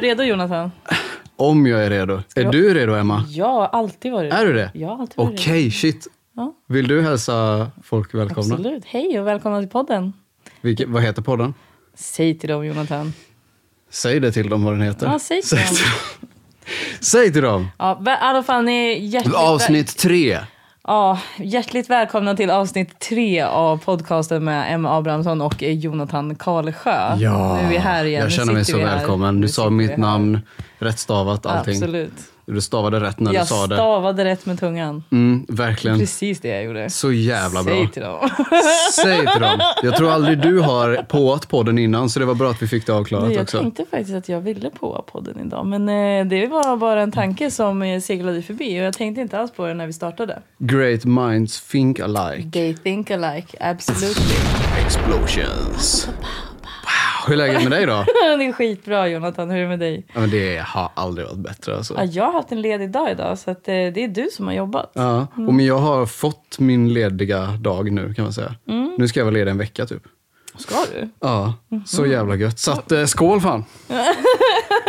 redo Jonathan? Om jag är redo. Är jag- du redo, Emma? Jag har alltid varit Är du det? Jag har alltid varit Okej, redo. shit. Ja, Vill du hälsa folk välkomna? absolut. Hej och välkomna till podden. Vilke, vad heter podden? Säg till dem Jonathan. Säg det till dem vad den heter. Ja, säg till dem. Säg till dem! Ja, vä- i alla fall ni är hjärtligt, väl- Avsnitt tre. ja, hjärtligt välkomna till avsnitt tre av podcasten med Emma Abrahamsson och Jonathan Karlsjö. Ja, nu är vi här igen. jag Nu känner mig sitter så vi här. välkommen. Nu Du sa sitter vi mitt här. namn, rättstavat allting. Absolut. Du stavade rätt när du Jag sa det. stavade rätt med tungan. Mm, verkligen. Precis det jag gjorde. Så jävla bra. Säg till dem. Säg till dem. Jag tror aldrig du har påat podden innan så det var bra att vi fick det avklarat Nej, jag också. tänkte faktiskt att jag ville på podden idag men eh, det var bara en tanke som eh, seglade förbi och jag tänkte inte alls på det när vi startade. Great minds think alike. They think alike, absolutely. Explosions. Wow, hur är läget med dig då? det är skitbra Jonathan, hur är det med dig? Ja, men det har aldrig varit bättre alltså. Ja, jag har haft en ledig dag idag så att, eh, det är du som har jobbat. Ja, och men jag har fått min lediga dag nu kan man säga. Mm. Nu ska jag vara ledig en vecka typ. Ska du? Ja, Mhm. så jävla gött. Så att, eh, skål fan!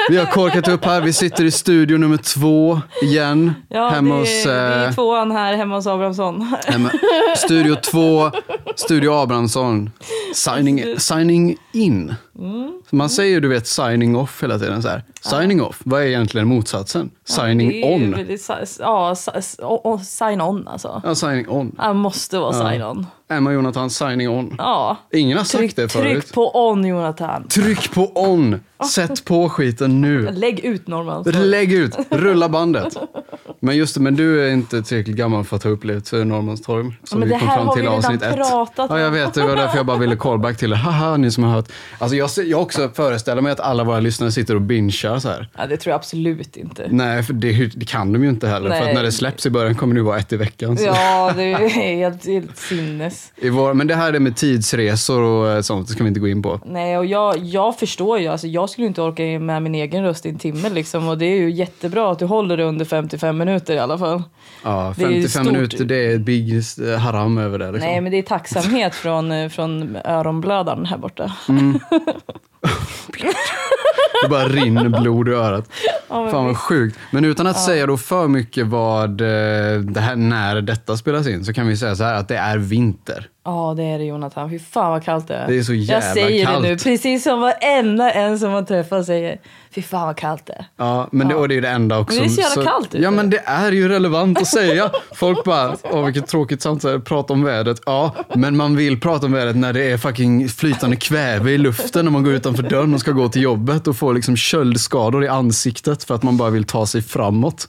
Vi har korkat upp här, vi sitter i studio nummer två igen. Ja, hemma det, hos... det är eh, tvåan här hemma hos Abrahamsson. hemma, studio två, Studio Abrahamsson. Signing, signing in. Mm. Man säger ju du vet signing off hela tiden så här. Signing off, vad är egentligen motsatsen? Signing Det är ju on. väldigt sa- Ja, sa- s- och- och sign on alltså. Ja, signing on. Jag måste vara sign on. Emma och Jonathan, signing on. Ja. Ingen har sagt Tryck, det förut. tryck på on Jonathan. Tryck på on! Sätt på skiten nu. Lägg ut Norman. Lägg ut, rulla bandet. Men just det, men du är inte tillräckligt gammal för att ha upplevt Norrmalmstorg. Som men vi det kom här fram har till vi i redan avsnitt ett. pratat om. Ja, jag vet. Det var därför jag bara ville callback till det. Haha, ni som har hört. Alltså jag, ser- jag också föreställer mig att alla våra lyssnare sitter och bingear så här. Ja, det tror jag absolut inte. Nej, för det, det kan de ju inte heller. För att Nej. när det släpps i början kommer det ju vara ett i veckan. Så. Ja, det är helt, helt sinnes. I vår, men det här är med tidsresor och eh, sånt, det ska vi inte gå in på. Nej, och jag, jag förstår ju. Alltså, jag skulle inte orka med min egen röst i en timme. Liksom, och det är ju jättebra att du håller det under 55 minuter i alla fall. Ja, Det är ju 55 stort. minuter, det är big eh, haram över det. Liksom. Nej, men det är tacksamhet från, eh, från öronblödaren här borta. Det bara rinner blod i örat. Ja, men Fan vad visst. sjukt. Men utan att säga då för mycket vad eh, det här, när detta spelas in så kan vi säga så här att det är vinter. Ja, det är det Jonathan. Fy fan vad kallt det är. Det är så Jag jävla säger kallt. det nu, precis som varenda en som man träffar säger. Fy fan vad kallt det är. Ja, men Det, och det är ju det enda också. Men det är så jävla kallt ute. Ja, men det är ju relevant att säga. Folk bara, åh vilket tråkigt samtal, prata om vädret. Ja, men man vill prata om vädret när det är fucking flytande kväve i luften när man går utanför dörren och ska gå till jobbet och får liksom köldskador i ansiktet för att man bara vill ta sig framåt.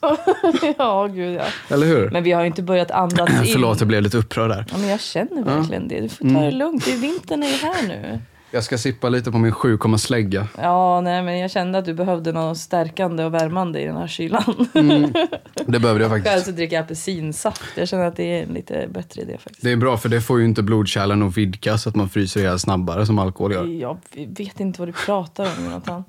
ja, gud ja. Eller hur? Men vi har ju inte börjat andas in. Förlåt, Mm. jag blev lite upprörd där. Ja, men jag känner verkligen det. Du får ta det lugnt. Det är vintern är ju här nu. Jag ska sippa lite på min 7, slägga. Ja, nej, men jag kände att du behövde något stärkande och värmande i den här kylan. Det behövde jag Själv faktiskt. så dricker jag apelsinsaft. Jag känner att det är en lite bättre idé faktiskt. Det är bra för det får ju inte blodkärlen att vidga så att man fryser ihjäl snabbare som alkohol gör. Jag vet inte vad du pratar om Jonathan.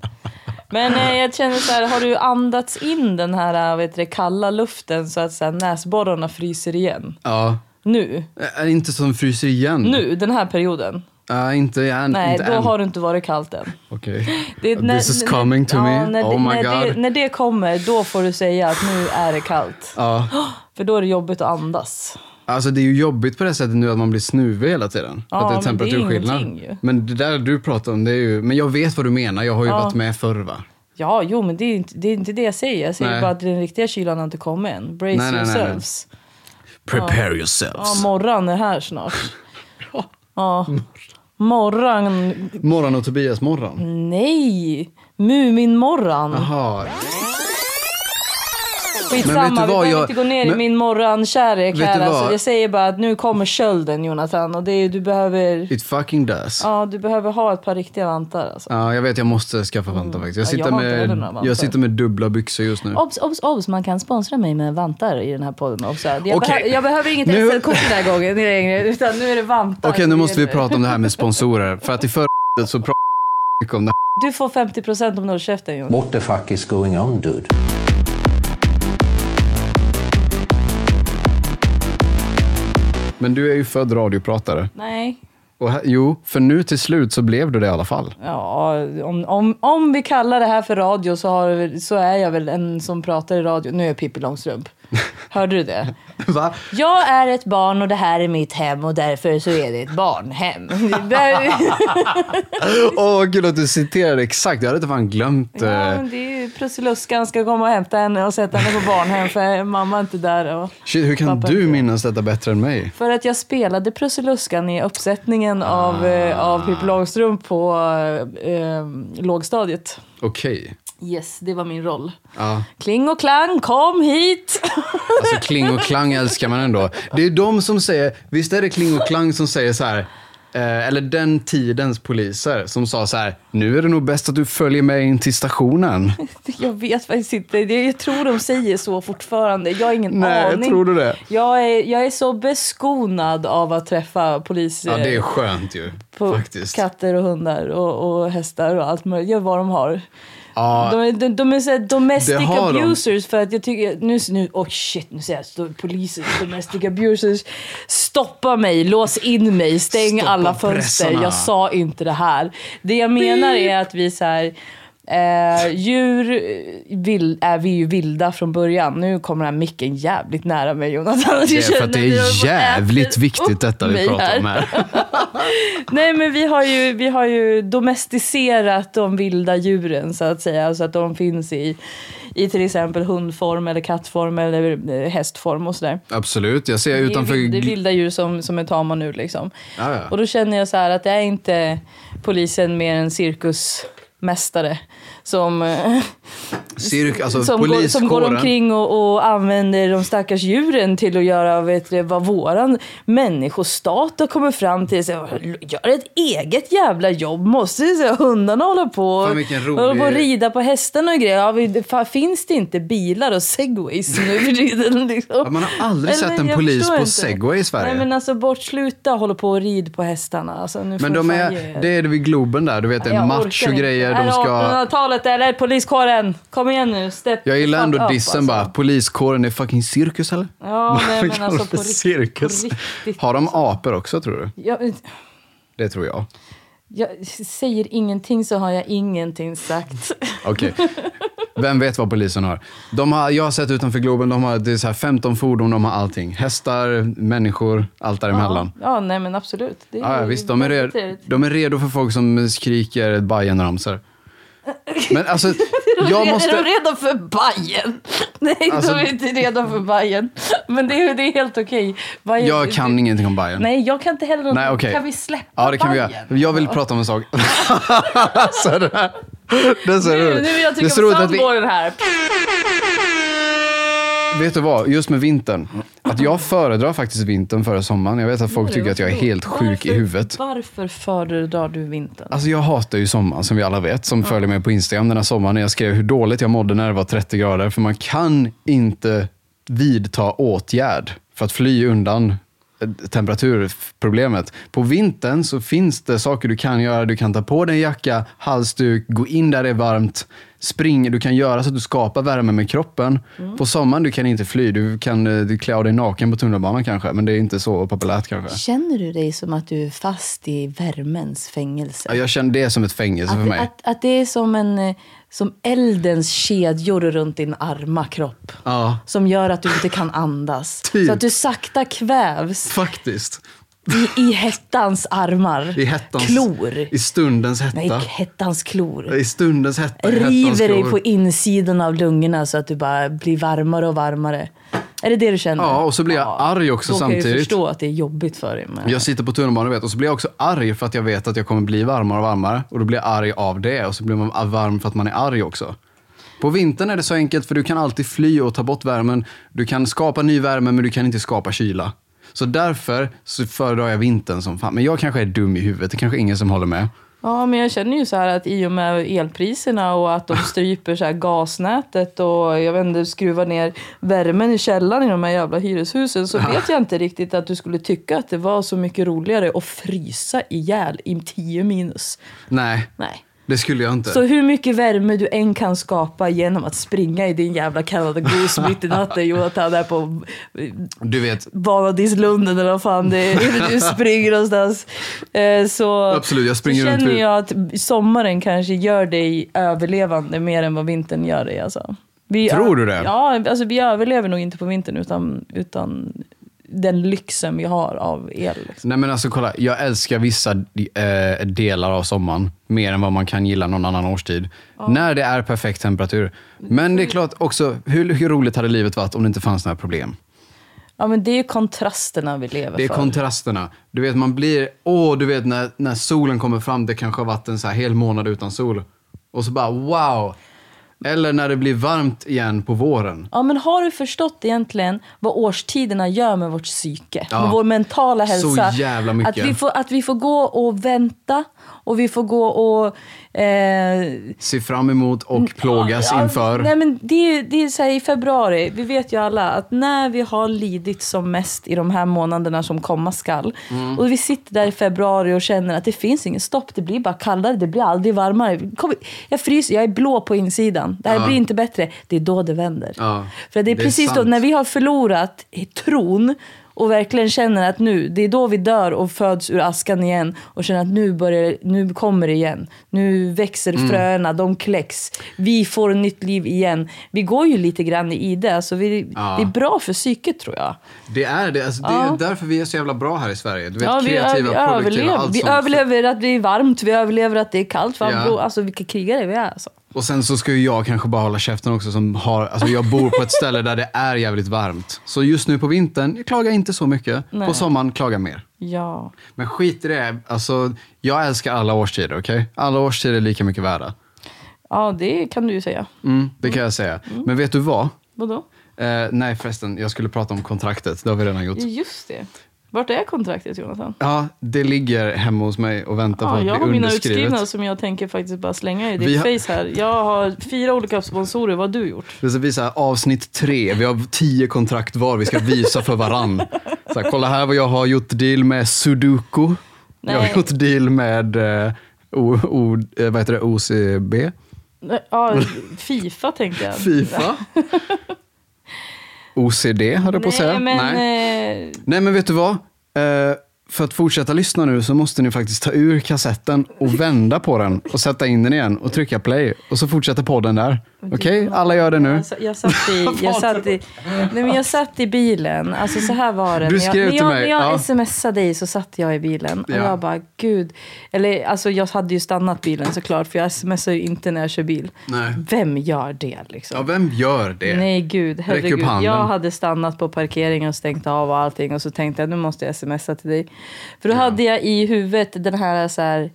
Men eh, jag känner så här, har du andats in den här eh, vet du, det, kalla luften så att så här, näsborrarna fryser igen? Ja. Nu? Ä- Äh, inte som fryser igen. Nu, den här perioden? Äh, inte än. Nej, inte då än. har du inte varit kallt än. Okej. Det är This is coming to ja, me. När, oh my när, god. Det, när det kommer, då får du säga att nu är det kallt. Ja. För då är det jobbigt att andas. Alltså det är ju jobbigt på det sättet nu att man blir snuvig hela tiden. Ja, att det är men det är ju temperaturskillnad. ingenting ju. Men det där du pratar om, det är ju... Men jag vet vad du menar, jag har ju Ja. varit med förr va? Ja, jo, men det är inte det, är inte det jag säger. Jag säger Nej. bara att den riktiga kylan har inte kommit än. Brace Nej, nej, nej, nej. yourselves. Prepare Ja, yourselves. morran är här snart. Ja. Morran. morgon och Tobias morgon. Mm. Nej! Mumin-morran. Jaha. Men vet Skitsamma, du vi vad, behöver jag- inte gå ner men- i min morran-kärlek Vet här. du vad? Alltså, jag säger bara att nu kommer kölden, Jonathan. Och det är, du, behöver, It fucking does. ja, du behöver ha ett par riktiga vantar. Alltså. Ja, jag vet, jag måste skaffa vantar faktiskt. Jag Mm. Ja, jag sitter, har inte heller några med, vantar. jag sitter med dubbla byxor just nu. Obs, obs, obs, man kan sponsra mig med vantar i den här podden också. Jag, behöver- jag behöver inget Nu- SL-kort den här gången längre, utan nu är det vantar. Okej, nu måste vi gäller. prata om det här med sponsorer. För att i förra så pratade vi mycket om det Du får 50% om du håller käften Jonas. What the fuck is going on, dude? här. Men du är ju född radiopratare. Nej, Och här, jo, för nu till slut så blev du det i alla fall. Ja, om, om, om vi kallar det här för radio så, har, så är jag väl en som pratar i radio. Nu är jag Pippi Långstrump. Hörde du det? Va? Jag är ett barn och det här är mitt hem och därför så är det ett barnhem. Där, Åh, vad kul att du citerade exakt. Jag hade inte fan glömt. ja, eh, men det är ju Prussiluskan ska komma och hämta henne och sätta henne på barnhem för mamma är inte där. Och... Shit, hur kan Pappa du inte. minnas detta bättre än mig? För att jag spelade Prussiluskan i uppsättningen av, eh, av Pippi Långstrump på eh, eh, lågstadiet. Okej. Yes, det var min roll. Ja. Kling och klang, kom hit! Alltså Kling och Klang älskar man ändå. Det är de som säger, visst är det Kling och Klang som säger så här, eh, eller den tidens poliser som sa så här, nu är det nog bäst att du följer med in till stationen. Jag vet faktiskt inte. Det- Jag tror de säger så fortfarande. Jag har ingen Nej, aning. tror du det? Jag är, jag är så beskonad av att träffa poliser Ja, det är skönt ju, på faktiskt. katter och hundar och, och hästar och allt möjligt. Gör vad de har. Ja, De, är- de, de är såhär domestic Det har de. abusers för att jag tycker, nu, nu oh shit nu säger jag så- polisen, domestic abusers. Stoppa mig, lås in mig, stäng Stoppa alla fönster. pressarna. Jag sa inte det här. Det jag menar är att vi såhär, eh, djur eh, vill, är vi ju vilda från början. Nu kommer den här micken jävligt nära mig Jonathan. det är för att det är jävligt viktigt detta vi pratar om här. här. Nej men vi har, ju, vi har ju domesticerat de vilda djuren så att säga. Så att de finns i, i till exempel hundform eller kattform eller eh, hästform och sådär. Absolut, jag ser Det är, utanför... vild- det är vilda djur som, som är tama nu liksom. Ja, ja. Och då känner jag så här att det är inte polisen mer en cirkusmästare som, eh, Cirk, alltså som, går, som går poliskåren. omkring och, och använder de stackars djuren till att göra vet du, vad våran människostat har kommit fram till. Så, här, gör ett eget jävla jobb. Måste så, här, hundarna hålla på och, Fan, vilken rolig- hålla på och rida på hästarna och grejer? Ja, vi, fan, finns det inte bilar och segways nu för tiden? Liksom? Ja, man har aldrig Eller, sett en jag polis förstår på inte. segway i Sverige. Nej men alltså bortsluta hålla på och rid på hästarna. Alltså, nu får Men ni de fan är, ge er. det är det vid Globen där, du vet det är Jag orkar match och inte. grejer. Är De det ska... 1800-talet eller poliskåren? Kom igen nu. Step Jag gillar fuck ändå up, dissen alltså. bara, poliskåren är fucking cirkus eller? Ja, nej, Vad men kallar alltså de på för rikt- cirkus? på riktigt. Har de apor också tror du? Jag, Det tror jag. jag säger ingenting så har jag ingenting sagt. Okej. Vem vet vad polisen har? De har? Jag har sett utanför Globen, de har det är så här 15 fordon, de har allting. Hästar, människor, allt däremellan. Ja, ja, nej men absolut. Det är Ja, ja, visst, de är, väldigt redo, trevligt. de är redo för folk som skriker Bajenramsor. Men alltså, jag Är de måste... redo för Bajen? Nej, Alltså- de är inte redo för Bajen. Men det är, det är helt okej. Bajen- Jag kan ingenting om Bajen. Nej, jag kan inte heller något. Nej, okej. Kan vi släppa Ja, det kan vi göra. Bajen? Jag vill prata om en sak. så det här. Det är så Nu, nu roligt. vill jag Det är trycka så på roligt att vi, soundboarden här. Vet du vad, just med vintern. Att jag föredrar faktiskt vintern före sommaren. Jag vet att folk tycker att jag är helt sjuk i Varför- huvudet. Varför föredrar du vintern? Alltså jag hatar ju sommaren som vi alla vet, som följer mig på Instagram den här sommaren när jag skrev hur dåligt jag mådde när det var 30 grader. För man kan inte vidta åtgärd för att fly undan eh, temperaturproblemet. På vintern så finns det saker du kan göra. Du kan ta på dig en jacka, halsduk, gå in där det är varmt, springa. Du kan göra så att du skapar värme med kroppen. Mm. På sommaren du kan inte fly. Du kan eh, du klä av dig naken på tunnelbanan kanske, men det är inte så populärt kanske. Känner du dig som att du är fast i värmens fängelse? Ja, Jag känner det som ett fängelse för mig. att, att, att det är som, en, eh, som eldens kedjor runt din arma kropp. Ja, Som gör att du inte kan andas. Typ. Så att du sakta kvävs faktiskt. i, i hettans armar. I hettans, Klor. I stundens hetta. Nej, hettans klor. I stundens hetta. i hettans River dig klor. på insidan av lungorna så att du bara blir varmare och varmare. Är det det du känner? Ja, och så blir jag arg också då Då kan jag samtidigt. ju förstå att det är jobbigt för dig. Men... Jag sitter på tunnelbanan vet, och så blir jag också arg för att jag vet att jag kommer bli varmare och varmare. Och då blir jag arg av det. Och så blir man varm för att man är arg också. På vintern är det så enkelt för du kan alltid fly och ta bort värmen. Du kan skapa ny värme men du kan inte skapa kyla. Så därför så föredrar jag vintern som fan. Men jag kanske är dum i huvudet. Det kanske ingen som håller med. Ja, men jag känner ju så här att i och med elpriserna och att de stryper så här gasnätet och jag vet inte, skruvar ner värmen i källaren i de här jävla hyreshusen så vet jag inte riktigt att du skulle tycka att det var så mycket roligare att frysa ihjäl i 10 minus. Nej. Nej. Det skulle jag inte. Så hur mycket värme du än kan skapa genom att springa i din jävla Canada Goose mitt i natten Jonathan där på eh, Du vet, Vanadislunden eller vad fan det är, du springer någonstans. Eh, Så Absolut, jag springer så runt känner på- jag att sommaren kanske gör dig överlevande mer än vad vintern gör dig. Alltså. Vi Tror du det? Ja, alltså vi överlever nog inte på vintern utan, utan den lyxen vi har av el. Liksom. nej men alltså kolla, jag älskar vissa eh, delar av sommaren mer än vad man kan gilla någon annan årstid. När det är perfekt temperatur. Men det är klart också, hur, hur roligt hade livet varit om det inte fanns några problem? Ja, men det är kontrasterna vi lever Det är för. kontrasterna. Du vet, man blir... Åh, du vet när, när solen kommer fram, det kanske har varit en så här hel månad utan sol. Och så bara wow! Eller när det blir varmt igen på våren. Ja, men har du förstått egentligen vad årstiderna gör med vårt psyke? Ja. Med vår mentala Så hälsa? jävla mycket. Att vi, får, att vi får gå och vänta och vi får gå och... Eh, Se fram emot och plågas Mm. Ja, inför. Nej, men det är, ju- det är så här, i februari, vi vet ju alla att när vi har lidit som mest i de här månaderna som komma skall Mm. och vi sitter där i februari och känner att det finns ingen stopp, det blir bara kallare, det blir aldrig varmare. Kom, jag fryser, jag är blå på insidan, det här Ja. blir inte bättre. Det är då det vänder. Ja, För det är det är precis då, sant. när vi har förlorat i tron och verkligen känner att nu, det är då vi dör och föds ur askan igen och känner att nu, börjar, nu kommer det igen. Nu växer Mm. fröna, de kläcks. Vi får nytt liv igen. Vi går ju lite grann i det, så vi, Ja. det är bra för psyket tror jag. Det är det. Alltså, det är Ja. därför vi är så jävla bra här i Sverige. Du vet, Ja, vi kreativa, ö- vi produktiva, överlever. allt Vi sånt. överlever att det är varmt, vi överlever att det är kallt. Fan, Ja. bro, alltså vilka krigare vi är alltså. Och sen så ska ju jag kanske bara hålla käften också som har, alltså jag bor på ett ställe där det är jävligt varmt. Så just nu på vintern, jag klagar inte så mycket. Nej. På sommaren, klagar mer. Ja. Men skit i det. Alltså, jag älskar alla årstider. okej? Alla årstider är lika mycket värda. ja, det kan du ju säga. Mm, det kan jag säga. Men vet du vad? Vadå? Eh, nej förresten, jag skulle prata om kontraktet. Det har vi redan gjort. Just det. Vart är kontraktet Jonathan? Ja, det ligger hemma hos mig och väntar på Ja, att jag har bli mina utskrivna underskrivet. som jag tänker faktiskt bara slänga i ditt Vi har- face här. Jag har fyra olika sponsorer, vad har du gjort? Det är så vi så här, avsnitt tre, vi har tio kontrakt var vi ska visa för varann. Så här, kolla här vad jag har gjort deal med Sudoku. Jag Nej. har gjort deal med eh, o, o, eh, vad heter det? OCB, Ja, Fifa tänkte jag. Fifa. OCD höll jag på att säga. Nej, men eh, Nej men vet du vad? Eh, för att fortsätta lyssna nu så måste ni faktiskt ta ur kassetten och vända på den och sätta in den igen och trycka play och så fortsätter podden där. Okej, alla gör det nu. jag, sa- alltså, jag, satt i, jag, satt i, nej, men jag satt i bilen, alltså så här var det. Du När jag, skrev när till jag, mig, När jag ja. smsade dig så satt jag i bilen och Ja. jag bara gud. Eller alltså jag hade ju stannat bilen såklart för jag smsar ju inte när jag kör bil. Nej. Vem gör det liksom? Ja, vem gör det? Nej gud, Räck upp herregud. handen. Jag hade stannat på parkeringen och stängt av och allting och så tänkte jag nu måste jag smsa till dig. För då hade jag i huvudet den här så här,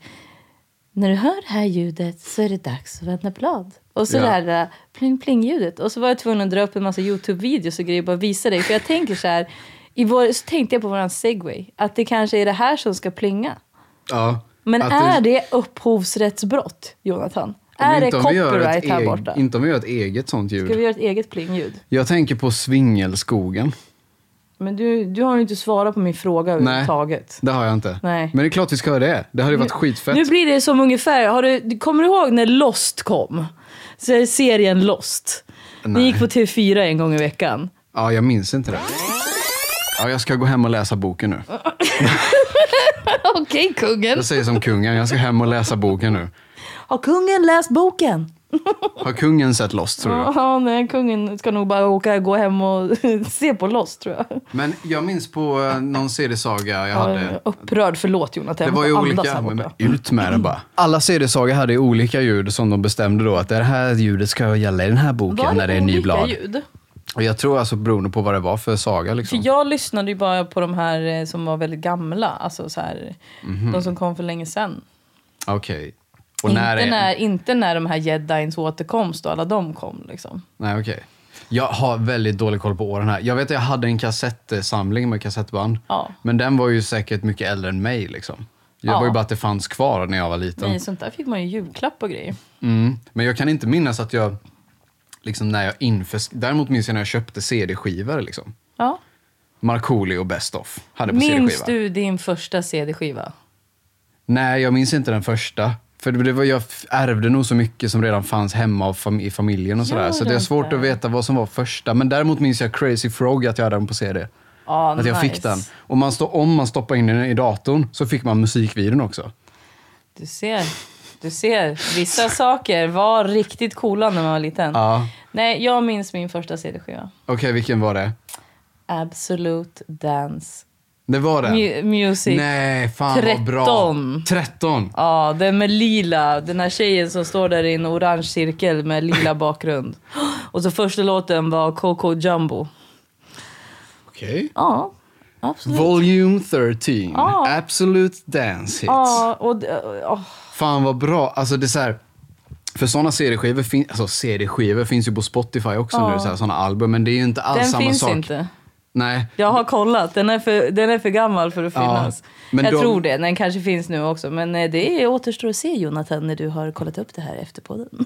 när du hör det här ljudet så är det dags att vända blad. Och så Ja. det här där pling pling ljudet. Och så var jag tvungen att dra upp en massa Youtube-videos och grejer och bara visa dig. För jag tänker så här, i vår, så tänkte jag på våran segway, att det kanske är det här som ska plinga. Ja, Men att är det upphovsrättsbrott, Jonathan? om Är det inte om vi gör ett copyright här eg- borta? Inte om vi gör ett eget sånt ljud. Ska vi göra ett eget plingljud? Jag tänker på svingelskogen. Men du, du har ju inte svarat på min fråga överhuvudtaget. det har jag inte. Nej. Men det är klart vi ska göra det. Det hade ju varit skitfett. Nu blir det som ungefär, har du, kommer du ihåg när Lost kom? Så är serien Lost. Den Nej. gick på TV4 en gång i veckan. Ja, jag minns inte det. Ja, jag ska gå hem och läsa boken nu. Okej, kungen. Jag säger som kungen, jag ska hem och läsa boken nu. Har kungen läst boken? Har kungen sett Lost tror du? Ja, nej, kungen ska nog bara åka gå hem och se på Lost tror jag. Men jag minns på eh, någon seriesaga jag jag är hade. upprörd, förlåt Jonathan. Det Jag var ju måste andas här olika. borta. Men ut med det bara. Alla seriesagor hade ju olika ljud som de bestämde då att det här ljudet ska gälla i den här boken Var när det är nyblad. olika ljud? Och jag tror alltså beroende på vad det var för saga För liksom. jag lyssnade ju bara på de här eh, som var väldigt gamla, alltså så här, Mhm. de som kom för länge sedan. Okej. Och inte, när när är inte när de här jedins återkomst och alla de kom. Liksom. Nej, okej. Jag har väldigt dålig koll på åren här. Jag vet att jag hade en kassettsamling med kassettband. Ja. Men den var ju säkert mycket äldre än mig liksom. Jag Ja. var ju bara att det fanns kvar när jag var liten. Nej, sånt där fick man ju julklapp och grejer. Mm. Men jag kan inte minnas att jag, liksom när jag inför... Däremot minns jag när jag köpte CD-skivor. Liksom. Ja. Markoolio och Best of hade på Minns CD-skiva. du din första CD-skiva? Nej, jag minns inte den första. För det var, jag ärvde nog så mycket som redan fanns hemma av fam i familjen och sådär. Gör Så det är det svårt inte? att veta vad som var första. Men däremot minns jag Crazy Frog, att jag hade den på CD. Ja, Att jag fick nice. den. Och man stå, om man stoppar in den i datorn så fick man musikvideon också. Du ser. Du ser. Vissa saker var riktigt coola när man var liten. Ja. Nej, jag minns min första CD-skiva. Okej, vilken var det? Absolute Dance Det var den? Mu- Music. Nej, fan vad bra. Tretton. 13. Ja, den med lila. Den här tjejen som står där i en orange cirkel med lila bakgrund. Och så första låten var Coco Jumbo. Okej. Ja, absolut. Volume 13. Ja. Absolute Dance Hits. ja, och, d- åh. Fan vad bra. Alltså det är så här, för sådana CD-skivor, fin- alltså CD-skivor finns ju på Spotify också Ja. nu, så här, sådana album. Men det är ju inte alls den samma finns sak. inte. Nej. Jag har kollat, den är för, den är för gammal för att Ja, finnas. men jag de- tror det, den kanske finns nu också. Men eh, det är, återstår att se Jonathan när du har kollat upp det här efter podden.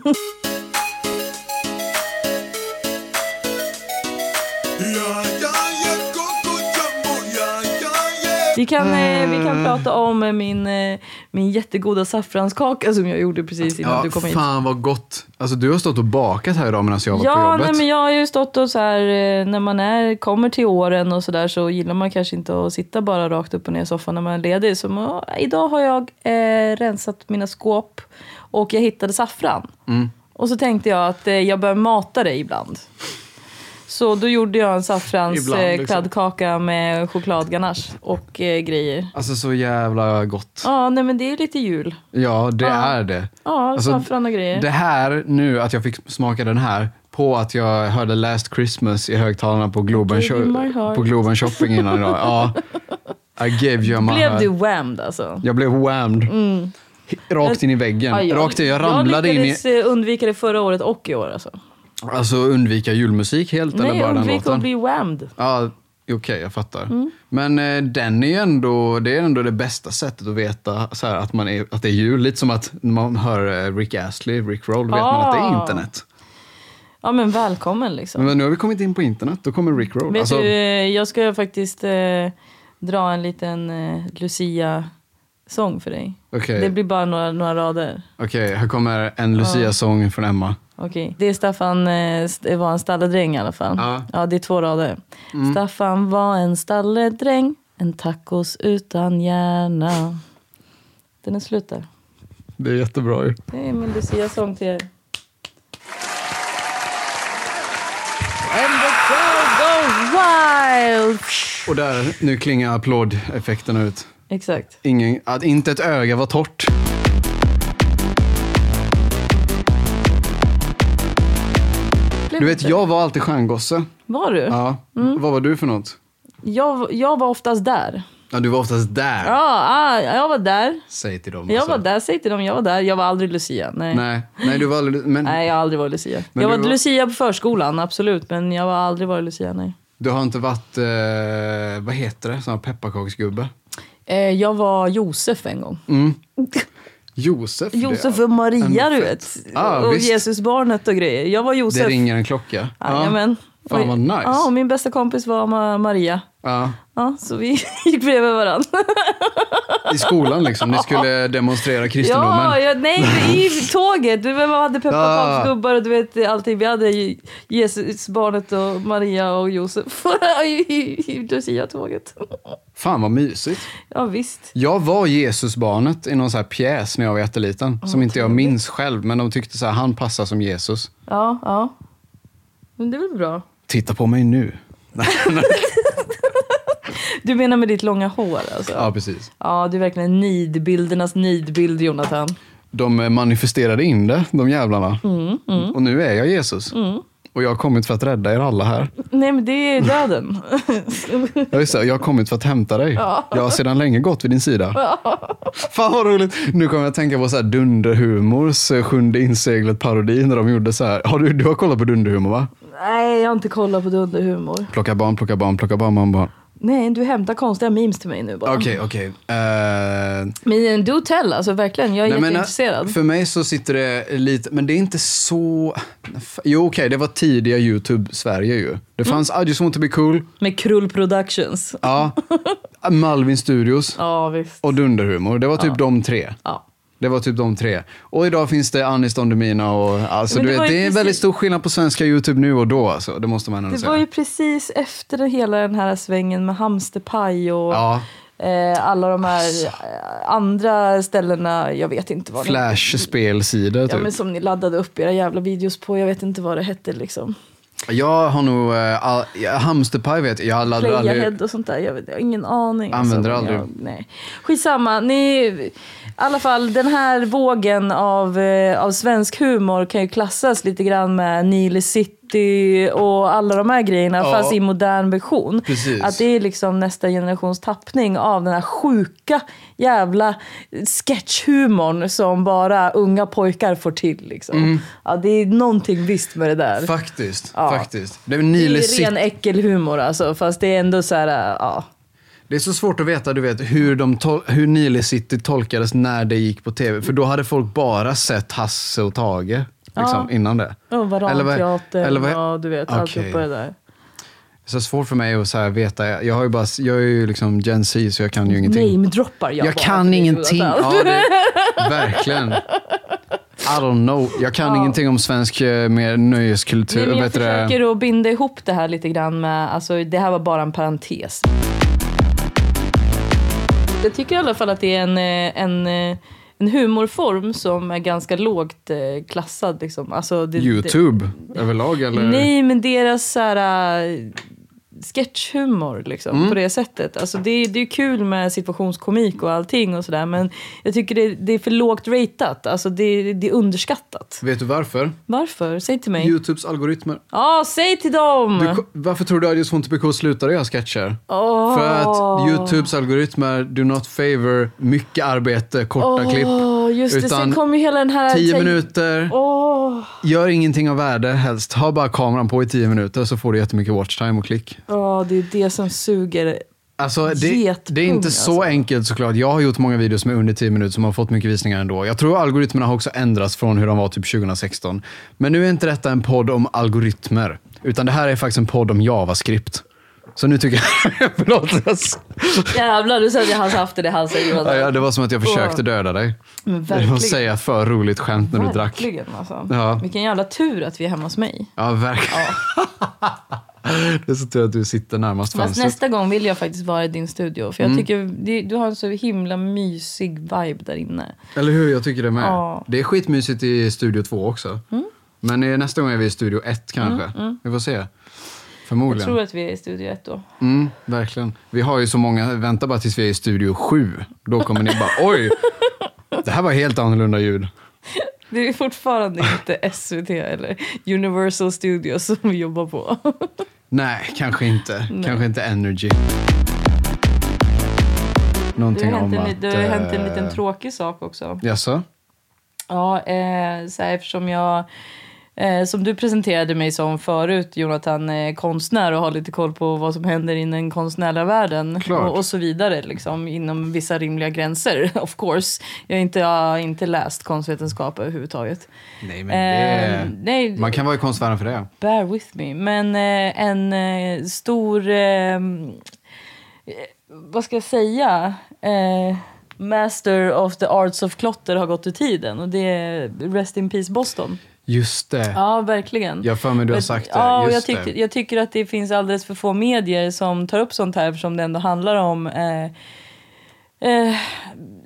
Yeah, yeah, yeah, go, go, jumbo, yeah, yeah, yeah. Vi kan, eh, vi Mm. kan prata om eh, min, eh, min jättegoda saffranskaka som jag gjorde precis innan Ja, du kom hit. fan vad gott. Alltså du har stått och bakat här idag medan jag har varit på Ja, jobbet. nej, men jag har ju stått och så här, eh, när man är, kommer till åren och sådär så gillar man kanske inte att sitta bara rakt upp och ner i soffan när man är ledig. Så man, "Ah, idag har jag eh, rensat mina skåp och jag hittade saffran. Mm. Och så tänkte jag att eh, jag bör mata det ibland. Så då gjorde jag en Ibland, liksom. saffranskladdkaka med chokladganache och eh, grejer. Alltså så jävla gott. Ja, nej men det är lite jul. Ja, det Ja. är det. Ja, Alltså, saffran och grejer. Det här nu, att jag fick smaka den här, på att jag hörde Last Christmas i högtalarna på Globen, Gave you my heart. på Globen shopping innan idag. Ja. I gave you my Blev heart. du whammed alltså? Jag blev whammed. Rakt in i väggen. Mm. Ja, Rakt in, jag ramlade jag in i... lyckades eh, undvika det förra året och i år alltså. Alltså undvika julmusik helt eller Nej, bara den undvik låten? att bli Mm. whammed. Ja, okej, jag fattar. Men eh, den är ju ändå, det är ändå det bästa sättet att veta så här, att, man är, att det är jul. Lite som att när man hör eh, Rick Astley, Rick Roll, vet man att det är Ah. internet. Ja men välkommen liksom. Men nu har vi kommit in på internet, då kommer Rick Roll. Vet Alltså, du, eh, jag ska faktiskt eh, dra en liten eh, Lucia-sång för dig. Okej. Det blir bara några, några rader. Okej, här kommer en Lucia-sång från Emma. Okej. Det är Staffan, eh, st- det var en stalledräng i alla fall. Ja. Mm. det är två rader. Staffan var en stalledräng, en tacos utan hjärna. Den är slut där. Det är jättebra ju. Det är min Lucia-sång till er. Go wild! Och där, nu klingar applådeffekterna ut. Exakt. Ingen, att inte ett öga var torrt. Du vet, jag var alltid stjärngosse. Var du? Ja. Mm. Vad var du för något? Jag, jag var oftast där. Ja, du var oftast där. Ja, ah, jag var där. Säg till dem. Jag alltså. var där, säg till dem. Jag var där. Jag var aldrig Lucia. Nej, Nej. Nej, nej du var aldrig, men jag har aldrig varit Lucia. Men jag du var, var- Lucia på förskolan, absolut. Men jag har aldrig varit Lucia, nej. du har inte varit, eh, vad heter det, sån här pepparkaksgubbe? Eh, jag var Josef en gång. Josef. Mm, det- Josef och Maria, ändå du vet. fett. Ah, och visst. Jesusbarnet och grejer. Jag var Josef. Det ringer en klocka. Jajamän. Fan, Och- vad nice. Ja, och min bästa kompis var Ma- Maria. Ja. Ja, så vi gick bredvid varandra. I skolan liksom, ni skulle demonstrera kristendomen. Ja, ja, nej, i tåget. Du vet, man hade Ah. pepparkaksgubbar och du vet allting. Vi hade ju Jesus, barnet och Maria och Josef i- i i Lucia-tåget. Fan vad mysigt. Ja, visst. Jag var Jesusbarnet i någon så här pjäs när jag var jätteliten, som inte jag minns själv, men de tyckte så här, han passar som Jesus. Ja, ja. Men det är väl bra. Titta på mig nu. Du menar med ditt långa hår alltså? Ja, precis. Ja, du är verkligen nidbildernas nidbild, Jonathan. De eh, manifesterade in det, de jävlarna. Och nu är jag Jesus. Och jag har kommit för att rädda er alla här. Nej, men det är döden. Jag, är så, här, jag har kommit för att hämta dig. Jag har sedan länge gått vid din sida. Fan vad roligt. Nu kommer jag att tänka på så här Dunderhumors eh, sjunde inseglet-parodi när de gjorde så här. Har du, du har kollat på Dunderhumor va? nej, jag har inte kollat på dunderhumor. Plocka barn, plocka barn, plocka barn, barn, barn. Nej, du hämtar konstiga memes till mig nu bara. Okej, okej. Eh, Men do tell, alltså verkligen. Jag är Nej, men, eh, jätteintresserad. För mig så sitter det lite, men det är inte så... Jo, okej, det var tidiga YouTube-Sverige ju. Det fanns I just want to be cool, Med Krull Productions. ja, Malvin Studios Ja, visst. och Dunderhumor. Det var typ de tre. Ja. Det var typ de tre. Och idag finns det Anis Don Demina och alltså, Men du det vet, var ju det är precis- väldigt stor skillnad på svenska YouTube nu och då alltså. Det måste man ändå Det säga. var ju precis efter hela den här svängen med hamsterpaj och Ja, Alltså. eh, alla de här eh, andra ställena. Jag vet inte vad ni, Flash-spelsidor ja, typ. men som ni laddade upp era jävla videos på. Jag vet inte vad det hette liksom. Jag har nog, eh, all, ja, Hamsterpaj vet jag, jag laddar Alltså, aldrig... Playahead och sånt där. Jag, vet, jag har ingen aning. Använder alltså, aldrig. Jag, nej. Skitsamma. Ni, I alla fall den här vågen av, eh, av svensk humor kan ju klassas lite grann med Nile City och alla de här grejerna Ja. fast i modern version. Precis. Att det är liksom nästa generations tappning av den här sjuka jävla sketchhumorn som bara unga pojkar får till. Liksom. Mm. Ja, det är någonting visst med det där. Faktiskt, Ja. faktiskt. Det är, Det Nile är City. ren äckelhumor alltså, fast det är ändå så här, äh, ja. det är så svårt att veta du vet, hur, de tol- hur Nile City tolkades när det gick på tv. För då hade folk bara sett Hasse och Tage liksom, innan det. Och Varanteatern eller vad- och du vet, Okej. alltihopa det där. Så svårt för mig att så här veta. Jag, har ju bara, jag är ju liksom Gen Z så jag kan ju ingenting. Namedroppar jag jag bara kan för ingenting. att- Ja, det, verkligen. I don't know. Jag kan ingenting om svensk eh, mer nöjeskultur. Nej, men jag Vet du det? försöker att binda ihop det här lite grann med, alltså det här var bara en parentes. Jag tycker i alla fall att det är en, eh, en, eh, en humorform som är ganska lågt eh, klassad. Liksom. Alltså, det, Youtube överlag Det, eller? nej, men deras så här, eh, sketchhumor liksom, Mm. på det sättet. Alltså, det, är- det är kul med situationskomik och allting och sådär men jag tycker det, det är för lågt ratat. Alltså, det, det är underskattat. Vet du varför? Varför? Säg till mig. Ja, Youtubes algoritmer. säg till dem! Du, varför tror du att just Fonte BK slutar göra sketcher? Åh. För att Youtubes algoritmer do not favor mycket arbete, korta Åh, klipp. just det. utan Sen kom ju hela den här... Tio minuter, Åh, gör ingenting av värde helst. Ha bara kameran på i tio minuter så får du jättemycket watchtime och klick. åh, det är det som suger. Alltså, det, Getpung, det är inte så alltså. enkelt såklart. Jag har gjort många videos som är under 10 minuter som har fått mycket visningar ändå. Jag tror algoritmerna har också ändrats från hur de var typ 2016. Men nu är inte detta en podd om algoritmer, utan det här är faktiskt en podd om Javascript. Så nu tycker jag... Förlåt. alltså. Jävlar, du sa att jag hade haft det i halsen Jonas. Ja, ja, det var som att jag försökte döda dig. Men Det var att verkligen. säga ett för roligt skämt när du drack. Verkligen alltså. Ja. Vilken jävla tur att vi är hemma hos mig. Ja, verkligen. Det är så tur att du sitter närmast Fast fönstret. nästa gång vill jag faktiskt vara i din studio. För jag Mm. tycker det, du har en så himla mysig vibe där inne. Eller hur? Jag tycker det med. Ja. Mm. Det är skitmysigt i Studio 2 också. Men eh, nästa gång är vi i Studio 1 kanske. Vi får se. Jag Förmodligen. tror att vi är i studio ett då. Mm, verkligen. Vi har ju så många, vänta bara tills vi är i Studio 7. Då kommer ni bara, oj! Det här var helt annorlunda ljud. Det är fortfarande inte SVT eller Universal Studios som vi jobbar på. Nej, kanske inte. Kanske inte Energy. Det har Någonting hänt om en, att... li- det har ju hänt en eh, liten tråkig sak också. Jaså? Ja, eh, så här, eftersom jag, eh, som du presenterade mig som förut, Jonathan, eh, konstnär och har lite koll på vad som händer i den konstnärliga världen Klart. och, och så vidare, liksom, inom vissa rimliga gränser, of course. Jag har inte, jag har inte läst konstvetenskap överhuvudtaget. Nej, men Eh, det... nej, Man kan vara i konstvärlden för det. bear with me. Men eh, en eh, stor, eh, eh, vad ska jag säga, eh, Master of the Arts of Klotter har gått ur tiden och det är Rest in Peace Boston. Just det. Ja, verkligen. Jag har för mig du har Men- sagt det. Ja, och jag, Just tycker, det. jag tycker att det finns alldeles för få medier som tar upp sånt här eftersom det ändå handlar om eh, eh,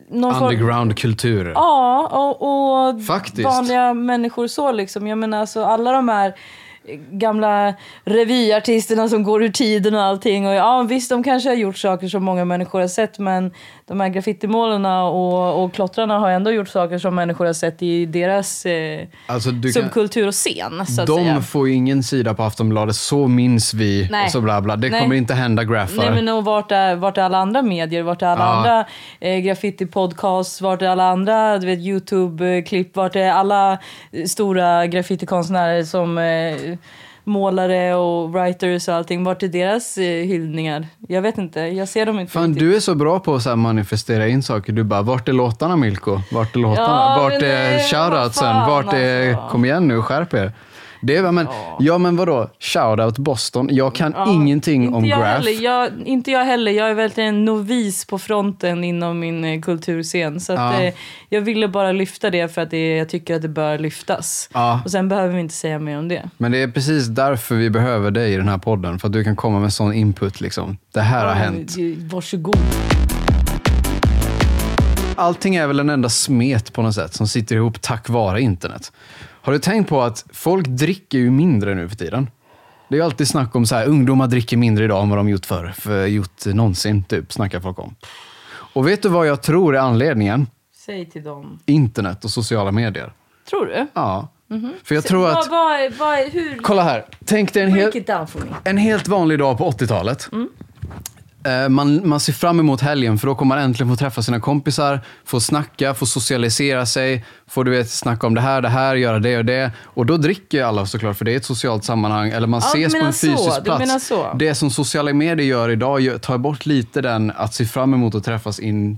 någon form- Underground-kultur. Ja, och, och Faktiskt. vanliga människor så liksom. Jag menar alltså alla de här gamla revyartisterna som går ur tiden och allting. Och ja, visst, de kanske har gjort saker som många människor har sett men de här graffitimålarna och, och klottrarna har ändå gjort saker som människor har sett i deras eh, Alltså, du kan, subkultur och scen, så att de säga. får ju ingen sida på Aftonbladet, så minns vi Nej. och så bla bla. Det Nej. kommer inte hända graffar. Nej men och vart är, vart är alla andra medier? Vart är alla Ja. andra eh, graffiti-podcasts? Vart är alla andra du vet, YouTube-klipp? Vart är alla eh, stora graffitikonstnärer som eh, målare och writers och allting? Vart är deras eh, hyllningar? Jag vet inte, jag ser dem inte Fan, riktigt. du är så bra på att så här manifestera in saker. Du bara, vart är låtarna Milko? Vart är låtarna? Ja, vart men är det- shoutoutsen? vad fan, Vart är, alltså. kom igen nu, skärp er. Det är, väl- men, Ja. ja men vadå, shoutout Boston. Jag kan Ja, ingenting om inte jag Graph. Heller. Jag, inte jag heller. Jag är verkligen en novis på fronten inom min eh, kulturscen. Så att, Ja. eh, jag ville bara lyfta det för att det, jag tycker att det bör lyftas. Ja. Och sen behöver vi inte säga mer om det. Men det är precis därför vi behöver dig i den här podden. För att du kan komma med sån input liksom. Det här har hänt. Varsågod. Allting är väl en enda smet på något sätt som sitter ihop tack vare internet. Har du tänkt på att folk dricker ju mindre nu för tiden? Det är ju alltid snack om så här, ungdomar dricker mindre idag än vad de gjort förr. För gjort någonsin, typ, snackar folk om. Och vet du vad jag tror är anledningen? Säg till dem. Internet och sociala medier. Tror du? Ja. För jag tror Vad, att... vad, är- vad, är- hur? Kolla här. Tänk dig en hel... Break it down for me. En helt vanlig dag på 80-talet. Mm. Eh, Man, man ser fram emot helgen för då kommer man äntligen få träffa sina kompisar, få snacka, få socialisera sig, få du vet, snacka om det här, det här, göra det och det. Och då dricker alla såklart för det är ett socialt sammanhang. Eller man Ja, du ses på menar en fysisk så, du plats. menar så. Det som sociala medier gör idag gör- tar bort lite den att se fram emot att träffas in,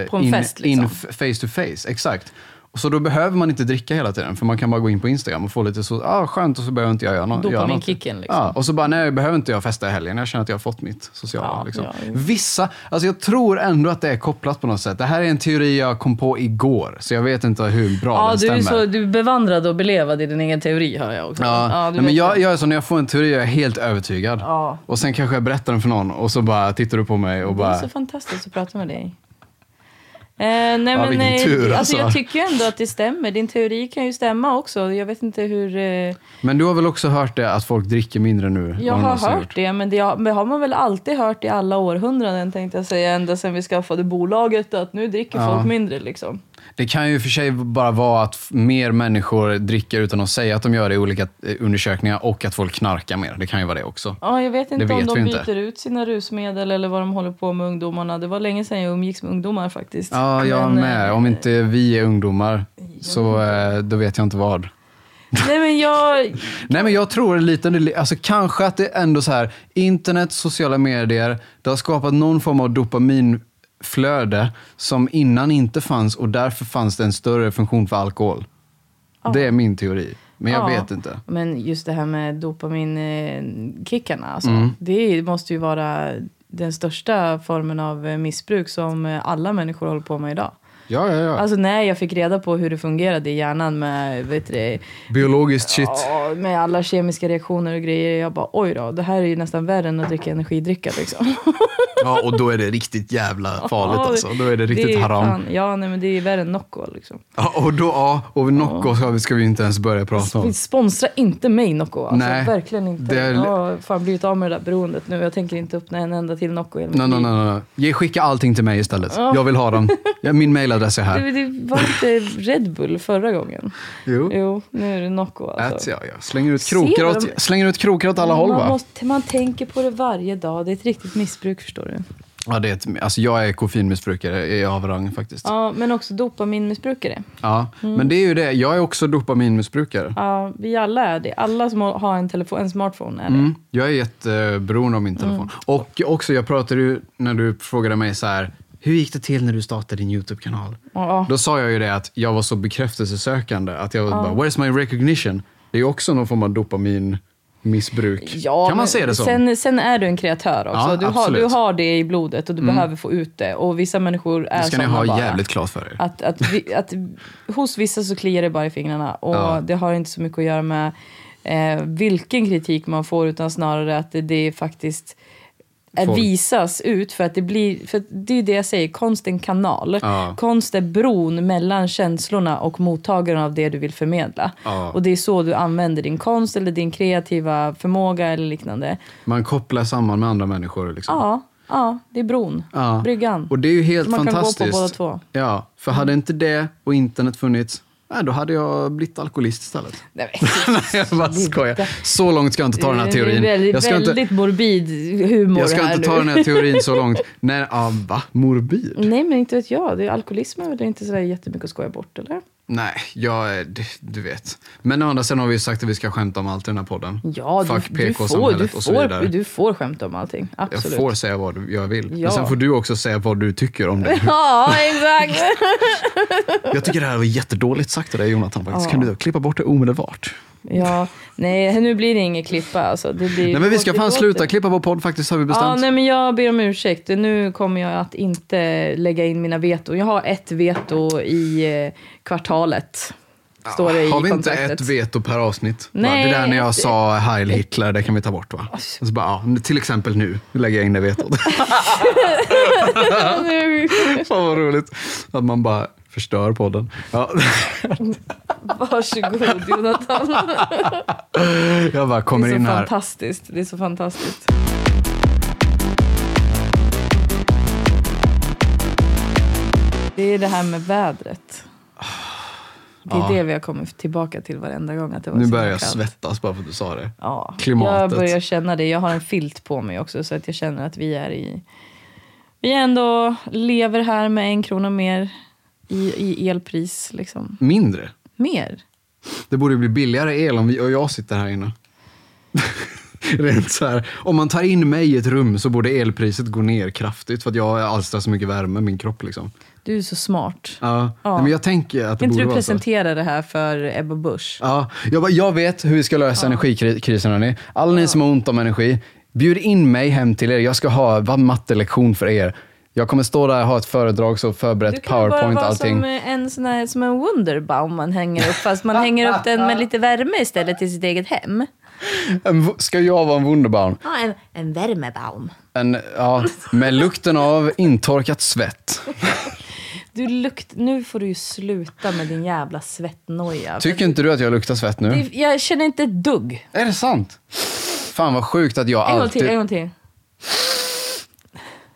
eh, På en in, fest, liksom. in f- face to face. Exakt. Och Så då behöver man inte dricka hela tiden för man kan bara gå in på Instagram och få lite så, ah, skönt och så behöver inte jag göra något. göra något. Dopaminkicken, liksom. Ja, och så bara, nej, jag behöver inte jag festa i helgen. Jag känner att jag har fått mitt sociala. Ja, liksom. ja. Vissa, alltså jag tror ändå att det är kopplat på något sätt. Det här är en teori jag kom på igår, så jag vet inte hur bra Ja, den du, stämmer. är så, du är bevandrad och belevad i din egen teori, hör jag också. Ja, du nej, men vet jag, det. jag är så, när jag får en teori jag är helt övertygad. Ja. Och sen kanske jag berättar den för någon och så bara tittar du på mig och Det är bara... så fantastiskt att prata med dig. Eh, nej, men, vilken eh, tur, alltså. Jag alltså. tycker ju ändå att det stämmer. Din teori kan ju stämma också. Jag vet inte hur... Eh, Men du har väl också hört det att folk dricker mindre nu? än jag vad de har någonsin hört gjort? det, men det har, men har man väl alltid hört i alla århundraden tänkte jag säga. Ända sedan vi skaffade bolaget att nu dricker Ja. folk mindre liksom. Det kan ju för sig bara vara att f- mer människor dricker utan att säga att de gör det i olika eh, undersökningar och att folk knarkar mer. Det kan ju vara det också. Ja, jag vet inte Det om vet de vi byter inte. ut sina rusmedel eller vad de håller på med ungdomarna. Det var länge sedan jag umgicks med ungdomar faktiskt. Ja, jag Men, eh, med. Om inte vi är ungdomar så eh, då vet jag inte vad. Nej, men jag... Nej, men jag tror en liten del- alltså kanske att det är ändå så här, internet, sociala medier, det har skapat någon form av dopaminflöde som innan inte fanns och därför fanns det en större funktion för alkohol. Det är min teori, men jag Ja. vet inte. Men just det här med dopaminkickarna, alltså, Mm. det måste ju vara den största formen av eh, missbruk som eh, alla människor håller på med idag. Ja, ja, ja. Alltså när jag fick reda på hur det fungerade i hjärnan med, vet du, det, Biologiskt shit. ja, med alla kemiska reaktioner och grejer. Jag bara oj då, det här är ju nästan värre än att dricka energidricka liksom. Ja, och då är det riktigt jävla farligt alltså. Då är det riktigt ju haram. fan- ja, nej, men det är värre än Nocco liksom. Ja, och då, ja, och Nocco ska vi- ska vi inte ens börja prata om. Sponsra Alltså, inte mig Nocco, alltså, Nej, verkligen inte. det är- Jag har fan blivit av med det där beroendet nu. Jag tänker inte öppna en enda till Nocco i hela mitt Nej, nej, liv. nej. nej. Ge- Skicka allting till mig istället. Jag vill ha dem. Ja, Min mailadress är här. Du, du var inte Red Bull förra gången. Jo. Jo, nu är det Nocco Ät, alltså. ja, ja. Slänger, ut Ser krokar de- åt, slänger ut krokar åt alla håll man, va? måste, man tänker på det varje dag. Det är ett riktigt missbruk förstår du. Ja, det är ett, alltså, jag är koffeinmissbrukare i av rang faktiskt. Ja. Ja, men också dopaminmissbrukare. Men det är ju det, jag är också dopaminmissbrukare. Ja, vi alla är det. Alla som har en, telefon, en smartphone är det. Mm. Jag är jätteberoende av Mm. min telefon. Och också, jag pratade ju när du frågade mig så här, hur gick det till när du startade din YouTube-kanal? Ja. Då sa jag ju det att jag var så bekräftelsesökande. Att jag bara, where's my recognition? Det är ju också någon form av dopaminmissbruk. Ja, kan man men se det som? Sen, sen är du en kreatör också. Ja, du, har, du absolut. Mm. har det i blodet och du behöver få ut det. Och vissa människor är det ska ni såna ha bara. jävligt klart för er. Att, att, vi, att hos vissa så kliar det bara i fingrarna och Ja. det har inte så mycket att göra med eh, vilken kritik man får utan snarare att det, det faktiskt eh, Folk. visas ut för att det blir, för att det är det jag säger, konst är en kanal. Ja. Konst är bron mellan känslorna och mottagaren av det du vill förmedla. Ja. Och det är så du använder din konst eller din kreativa förmåga eller liknande. Man kopplar samman med andra människor. Liksom. Ja, ja det är bron, Ja. bryggan. Och det är ju helt Man kan gå på fantastiskt. båda två. Ja, för hade inte det och internet funnits, nej, då hade jag blivit alkoholist istället. Nej, men- nej, jag bara skojar. Så långt ska jag inte ta den här teorin. Det är väldigt, jag ska inte, väldigt morbid humor jag ska här inte ta nu. den här teorin så långt. Nej, ah, va? Morbid? Nej, men inte vet jag. Det är alkoholism är väl inte sådär jättemycket att skoja bort, eller? Nej, jag, är- det- du vet. Men å andra sidan har vi ju sagt att vi ska skämta om allt i den här podden. Ja, Fuck du, du, får, du, PK-samhället och så får, vidare. du får skämta om allting. jag Absolut. får säga vad jag vill. Ja. Men sen får du också säga vad du tycker om det. Ja, exakt! Jag tycker det här var jättedåligt sagt av dig Jonathan. Faktiskt. Ja. Kan du klippa bort det omedelbart? Ja, nej, nu blir det ingen klippa alltså. Det blir Nej men vi ska fan låter- sluta klippa vår podd faktiskt har vi Ja, bestämt. nej, men jag ber om ursäkt. Nu kommer jag att inte lägga in mina veton. Jag har ett veto i eh, kvartalet. Står det i Ah, har vi inte kontraktet. ett veto per avsnitt? Va? Nej, Alltså. det där när jag ett- sa Heil Hitler, det kan vi ta bort va? Och så bara, ja, till exempel nu, nu lägger jag in det vetot. Nu- Fan vad roligt att man bara förstör podden. Ja, Varsågod Jonathan. jag bara Det kommer är så in här. fantastiskt. Det är så fantastiskt. Det är det här med vädret. Det är Ja. det vi har kommit tillbaka till varenda gång. Att det var Nu så börjar jag kallt. svettas bara för att du sa det. Ja, Klimatet. jag börjar känna det. Jag har en filt på mig också så att jag känner att vi är i... Vi ändå lever här med en krona mer i, i elpris. Liksom. Mindre. Mer? Det borde bli billigare el om vi och jag sitter här inne. Rent så här. Om man tar in mig i ett rum så borde elpriset gå ner kraftigt för att jag alstrar så mycket värme i min kropp. Liksom. Du är så smart. Ja. Ja. Nej, men jag tänker att Kan det inte borde du vara så. presentera det här för Ebba Busch? Ja, jag, bara, jag vet hur vi ska lösa energikrisen hörni. Alla ni som har ont om energi, bjud in mig hem till er. Jag ska ha vad, mattelektion för er. Jag kommer stå där och ha ett föredrag, så Du förberett kan ju bara powerpoint vara allting. som en, sån här, som en wonderbaum man hänger upp, fast man hänger upp den med lite värme istället till sitt eget hem. En v- Ska jag vara en Wunderbaum? Ja, en, en värmebaum. En, ja, med lukten av intorkat svett. Du lukt, nu får du ju sluta med din jävla svettnoja. Tycker inte du att jag luktar svett nu? Det- Jag känner inte ett dugg. Är det sant? Fan vad sjukt att jag En gång alltid... till, en gång till.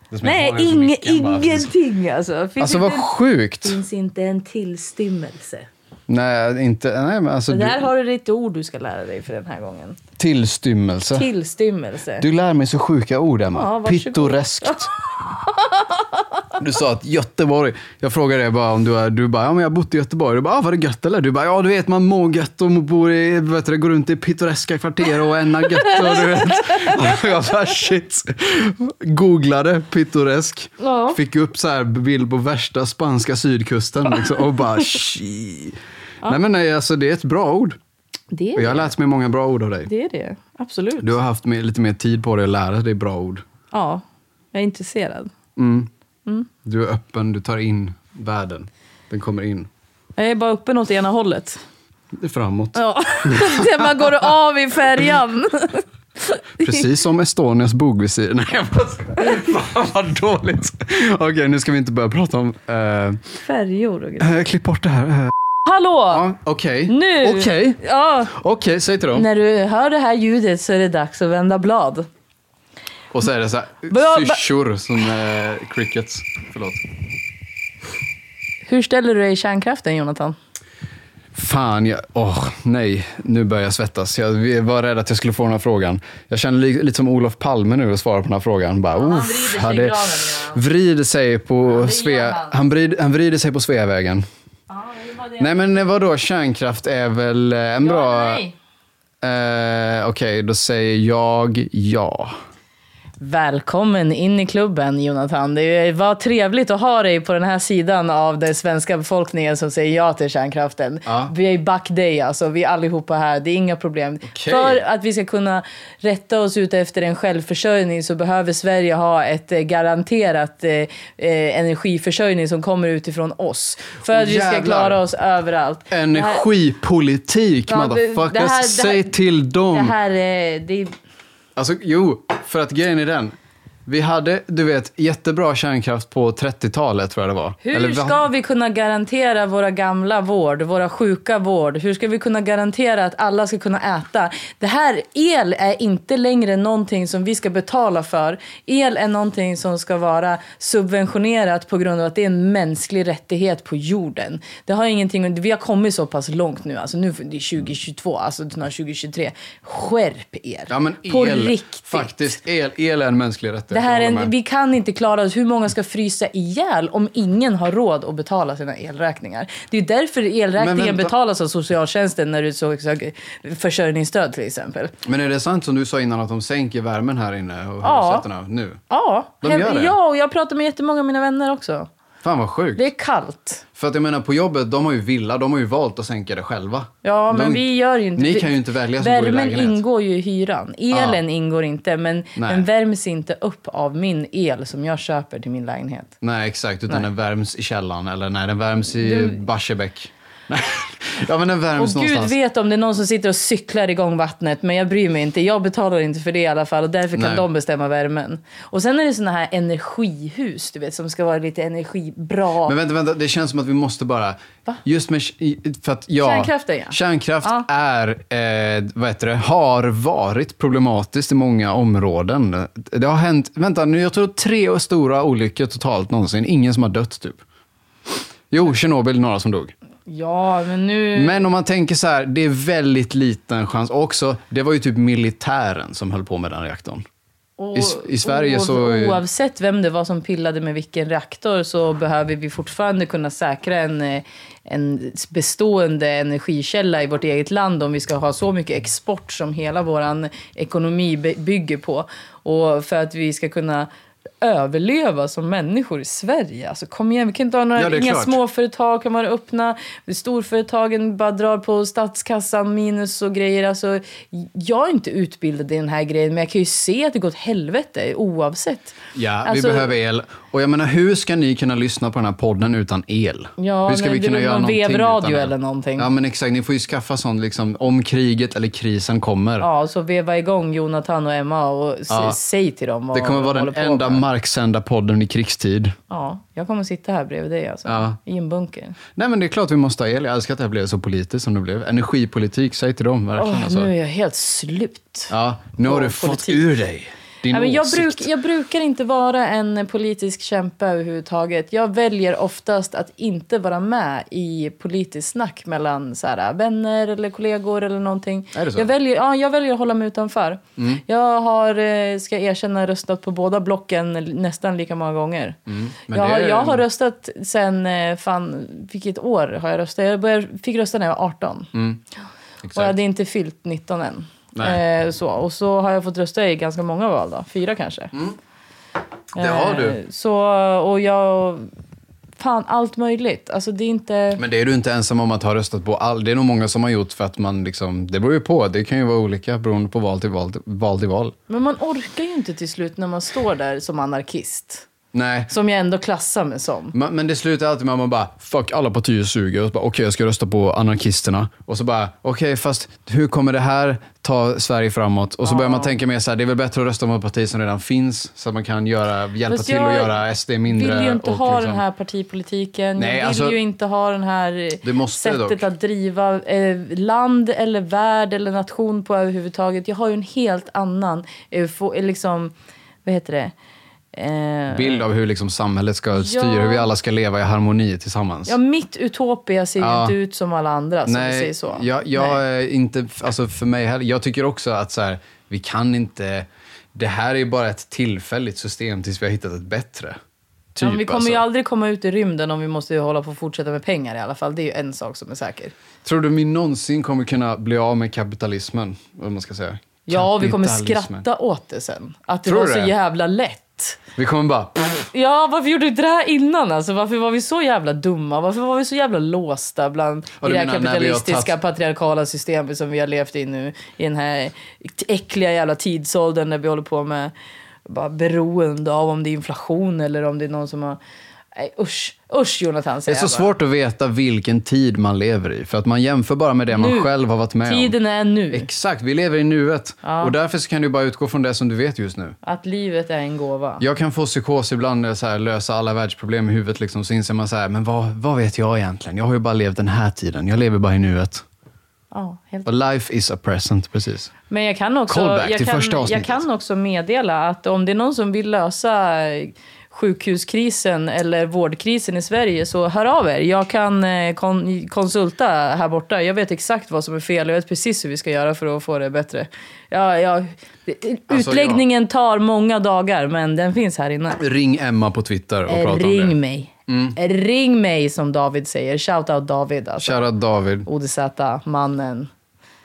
Det är som Nej, jag har i inge, micken bara. ingenting alltså. Finns, Alltså inte, vad sjukt. finns inte en tillstymmelse. Nej, inte... Nej, men alltså... Det där Du, har du ditt ord du ska lära dig för den här gången. tillstymmelse. Tillstymmelse. Du lär mig så sjuka ord, Emma. Ja, varsågod. Pittoreskt. Du sa att Göteborg. Jag frågade dig bara om du är... Du bara, ja men jag har bott i Göteborg. Du bara, ah, var det gött eller? Du bara, ja du vet man mår gött och bor i, vet du, går runt i pittoreska kvarter och änar gött och du vet. Och jag bara, shit. Googlade pittoresk. Ja. Fick upp så här bild på värsta spanska sydkusten liksom, och bara, shi. Nej men nej, alltså det är ett bra ord. Det Och jag har är det. lärt mig många bra ord av dig. Det är det. Absolut. Du har haft mer, lite mer tid på dig att lära dig bra ord. Ja, jag är intresserad. Mm. Du är öppen, du tar in världen. Den kommer in. Jag är bara uppe åt ena hållet. Det är framåt. Ja. Där man går av i färjan. Precis som Estonias bogvisir. Nej, jag bara skojar. Fan vad dåligt. Okej, nu ska vi inte börja prata om... eh, Färjor och grejer. eh, klipp bort det här. eh. Hallå! Ja, Okej. Nu! Okej, okej, Ja, säg till dem. när du hör det här ljudet så är det dags att vända blad. Och så är det så Bra, här bra. syrsor som eh, crickets. Förlåt. Hur ställer du dig i kärnkraften, Jonathan? Fan, jag, åh, nej. Nu börjar jag svettas. Jag var rädd att jag skulle få den här frågan. Jag känner li, lite som Olof Palme nu att svara på den här frågan. Bara, han vrider sig i graven, ja. vrider sig på det gör Svea, han. han, vrid, han vrider sig på Sveavägen. Nej men vadå, kärnkraft är väl eh, en bra... Eh, Okej, då säger jag ja. Välkommen in i klubben Jonathan. Det var trevligt att ha dig på den här sidan av den svenska befolkningen som säger ja till kärnkraften. Ja. Vi är back dig alltså, vi är allihopa här, det är inga problem. Okej. För att vi ska kunna rätta oss ut efter en självförsörjning så behöver Sverige ha ett eh, garanterat eh, eh, energiförsörjning som kommer utifrån oss. För Åh, att vi ska jävlar. klara oss överallt. Det här- Energipolitik, Ja, det- det här- motherfuckers. det här- Säg till dem. Det här, eh, det är... Alltså, jo, för att grejen är den. Vi hade, du vet, jättebra kärnkraft på 30-talet tror jag det var. Hur Eller vi- ska vi kunna garantera våra gamla vård, våra sjuka vård? Hur ska vi kunna garantera att alla ska kunna äta? Det här, el är inte längre någonting som vi ska betala för. El är någonting som ska vara subventionerat på grund av att det är en mänsklig rättighet på jorden. Det har ingenting, vi har kommit så pass långt nu, alltså nu det är 2022, alltså snart 2023. Skärp er! Ja, men el, på riktigt! Faktiskt, el, el är en mänsklig rättighet. Det här jag är håller en, med. vi kan inte klara oss. Hur många ska frysa ihjäl om ingen har råd att betala sina elräkningar? Det är ju därför Men elräkningen vänta. betalas av socialtjänsten när du så- söker försörjningsstöd till exempel. Men är det sant som du sa innan att de sänker värmen här inne och Ja. hyresrätterna nu? Ja, De gör det? ja och jag pratar med jättemånga av mina vänner också. Fan vad sjukt. Det är kallt. För att jag menar på jobbet, de har ju villa, de har ju valt att sänka det själva. Ja, de, men vi gör ju inte... Ni vi- kan ju inte välja som bor i Värmen lägenhet. ingår ju i hyran. Elen Ja. ingår inte, men Nej. den värms inte upp av min el som jag köper till min lägenhet. Nej, exakt. Utan Nej. den värms i källaren. Eller nej, den värms i Du- Barsebäck. Nej. ja, men den värms Och gud någonstans. vet om det är någon som sitter och cyklar igång vattnet, men jag bryr mig inte. Jag betalar inte för det i alla fall och därför kan Nej. de bestämma värmen. Och sen är det såna här energihus, du vet, som ska vara lite energibra. Men vänta, vänta. Det känns som att vi måste bara... Va? Just med... För att, ja, Kärnkraften, ja. Kärnkraft Ja. är, eh, vad heter det, har varit problematiskt i många områden. Det har hänt, vänta nu, jag tror tre stora olyckor totalt någonsin. Ingen som har dött typ. Jo, Tjernobyl, några som dog. Ja, men nu... Men om man tänker så här, det är väldigt liten chans. Och Också, det var ju typ militären som höll på med den reaktorn. Och- I S- i Sverige så är- Oavsett vem det var som pillade med vilken reaktor så behöver vi fortfarande kunna säkra en, eh, en bestående energikälla i vårt eget land om vi ska ha så mycket export som hela vår ekonomi by- bygger på. Och för att vi ska kunna överleva som människor i Sverige. Alltså kom igen, vi kan inte ha några, Ja, det är inga klart. småföretag kan vara öppna. Storföretagen bara drar på statskassan minus och grejer. Alltså, jag är inte utbildad i den här grejen men jag kan ju se att det går åt helvete oavsett. Ja, Alltså- vi behöver el. Och jag menar, hur ska ni kunna lyssna på den här podden utan el? Ja, hur ska men det är väl någon vevradio eller någonting. Ja, men exakt. Ni får ju skaffa sånt liksom, om kriget eller krisen kommer. Ja, så veva igång Jonathan och Emma och s- Ja. säg till dem vad det kommer de vara håller den på enda med. marksända podden i krigstid. Ja, jag kommer sitta här bredvid dig alltså. Ja. I en bunker. Nej, men det är klart vi måste ha el. Jag älskar att det här blev så politiskt som det blev. Energipolitik, säg till dem verkligen. Åh, alltså. nu är jag helt slut. Ja, nu har Åh, du fått politik. ur dig din Nej, men jag, åsikt. bruk, jag brukar inte vara en politisk kämpe överhuvudtaget. Jag väljer oftast att inte vara med i politiskt snack mellan så här, vänner eller kollegor eller någonting. Är det så? Mm. Jag, väljer, ja, jag väljer att hålla mig utanför. Jag har, eh, ska jag erkänna, röstat på båda blocken nästan lika många gånger. Mm. men jag, det har- är- jag har röstat sen, eh, fan, vilket år har jag röstat? Jag började, fick rösta när jag var 18. Och jag Mm, Exakt. hade inte fyllt 19 än. Nej. Eh, så. Och så har jag fått rösta i ganska många val, då. fyra kanske. Det har Eh, du. Så, och jag... Fan, allt möjligt. Alltså det är inte... Men det är du inte ensam om att ha röstat på. All, det är nog många som har gjort för att man liksom, det beror ju på. Det kan ju vara olika beroende på val till val, till- val till val. Men man orkar ju inte till slut när man står där som anarkist. Nej. Som jag ändå klassar mig som. Ma- Men det slutar alltid med att man bara, fuck alla partier suger. Och så bara, Okej, jag ska rösta på anarkisterna. Och så bara, okej, fast hur kommer det här ta Sverige framåt? Och så börjar man tänka mer så här, det är väl bättre att rösta på ett parti som redan finns. Så att man kan göra, hjälpa Fast till jag att göra SD mindre. vill ju inte och ha liksom- den här partipolitiken. Nej, jag vill alltså- ju inte ha den här Det måste sättet dock. att driva eh, land eller värld eller nation på överhuvudtaget. Jag har ju en helt annan eh, få, eh, liksom, vad heter det? Eh, Bild av hur liksom samhället ska styra, Ja. hur vi alla ska leva i harmoni tillsammans. ja, mitt Utopia ser ju Ja. inte ut som alla andra, som Alltså, vi säger så. Jag, jag är inte, alltså för mig heller. Jag tycker också att så här, vi kan inte, det här är ju bara ett tillfälligt system tills vi har hittat ett bättre. Typ, ja, men vi kommer alltså. ju aldrig komma ut i rymden om vi måste hålla på och fortsätta med pengar i alla fall. Det är ju en sak som är säker. Tror du vi någonsin kommer kunna bli av med kapitalismen? Vad man ska säga. Ja, vi kommer Kapitalismen. skratta åt det sen. Att det Tror var du så det? jävla lätt. Vi kommer bara, Ja, varför gjorde du inte det här innan? Alltså, varför var vi så jävla dumma? Varför var vi så jävla låsta bland Ja, i du det här menar när vi har kapitalistiska tagit- patriarkala systemet som vi har levt i nu i den här äckliga jävla tidsåldern där vi håller på med bara beroende av om det är inflation eller om det är någon som har... Nej, usch, usch Jonathan det är säger så jag bara. svårt att veta vilken tid man lever i. För att man jämför bara med det man Nu. själv har varit med om. Tiden är nu. Exakt, vi lever i nuet. Och därför så kan du bara utgå från det som du vet just nu. Att livet är en gåva. Jag kan få psykos ibland när jag så här, lösa alla världsproblem i huvudet. Liksom, så inser man så här, men vad, vad vet jag egentligen? Jag har ju bara levt den här tiden. Jag lever bara i nuet. Ja, helt Och life is a present, precis. Men jag kan också, Callback jag till första kan, jag avsnittet. kan också meddela att om det är någon som vill lösa eh, sjukhuskrisen eller vårdkrisen i Sverige så hör av er. Jag kan eh, kon- konsulta här borta. Jag vet exakt vad som är fel och jag vet precis hur vi ska göra för att få det bättre. Ja, ja, Alltså, utläggningen tar många dagar men den finns här inne. Ring Emma på Twitter och prata om Eh, Ring det. Mm. mig. Ring mig som David säger. Shout out David alltså. Kära David. ODZ, mannen.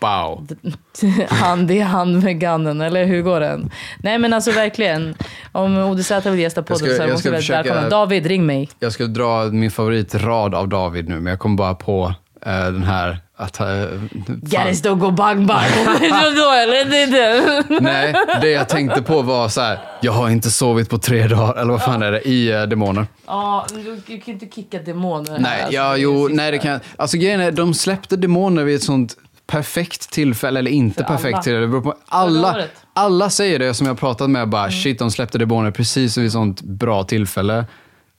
Wow. hand i hand med Gunnen, eller hur går den? Nej men alltså verkligen, om ODZ vill gästa podden Jag ska- så är jag måste ska väl försöka- välkomna. David, ring mig. Jag skulle dra min favoritrad av David nu, men jag kom bara på eh, den här att... eh, fan. Garris don't go bang bang. Det är då, eller? Det är det. Nej, det jag tänkte på var så här, jag har inte sovit på tre dagar, eller vad fan är det, i eh, Demoner. Ja, du, du kan inte kicka demoner här. Nej, alltså. ja, Det är jo, sista. nej det kan Alltså grejen är, de släppte Demoner vid ett sånt perfekt tillfälle, eller För inte perfekt alla. tillfälle. Det beror på, alla, året. Mm. alla säger det som jag har pratat med, bara shit, de släppte Demoner precis vid ett sånt bra tillfälle.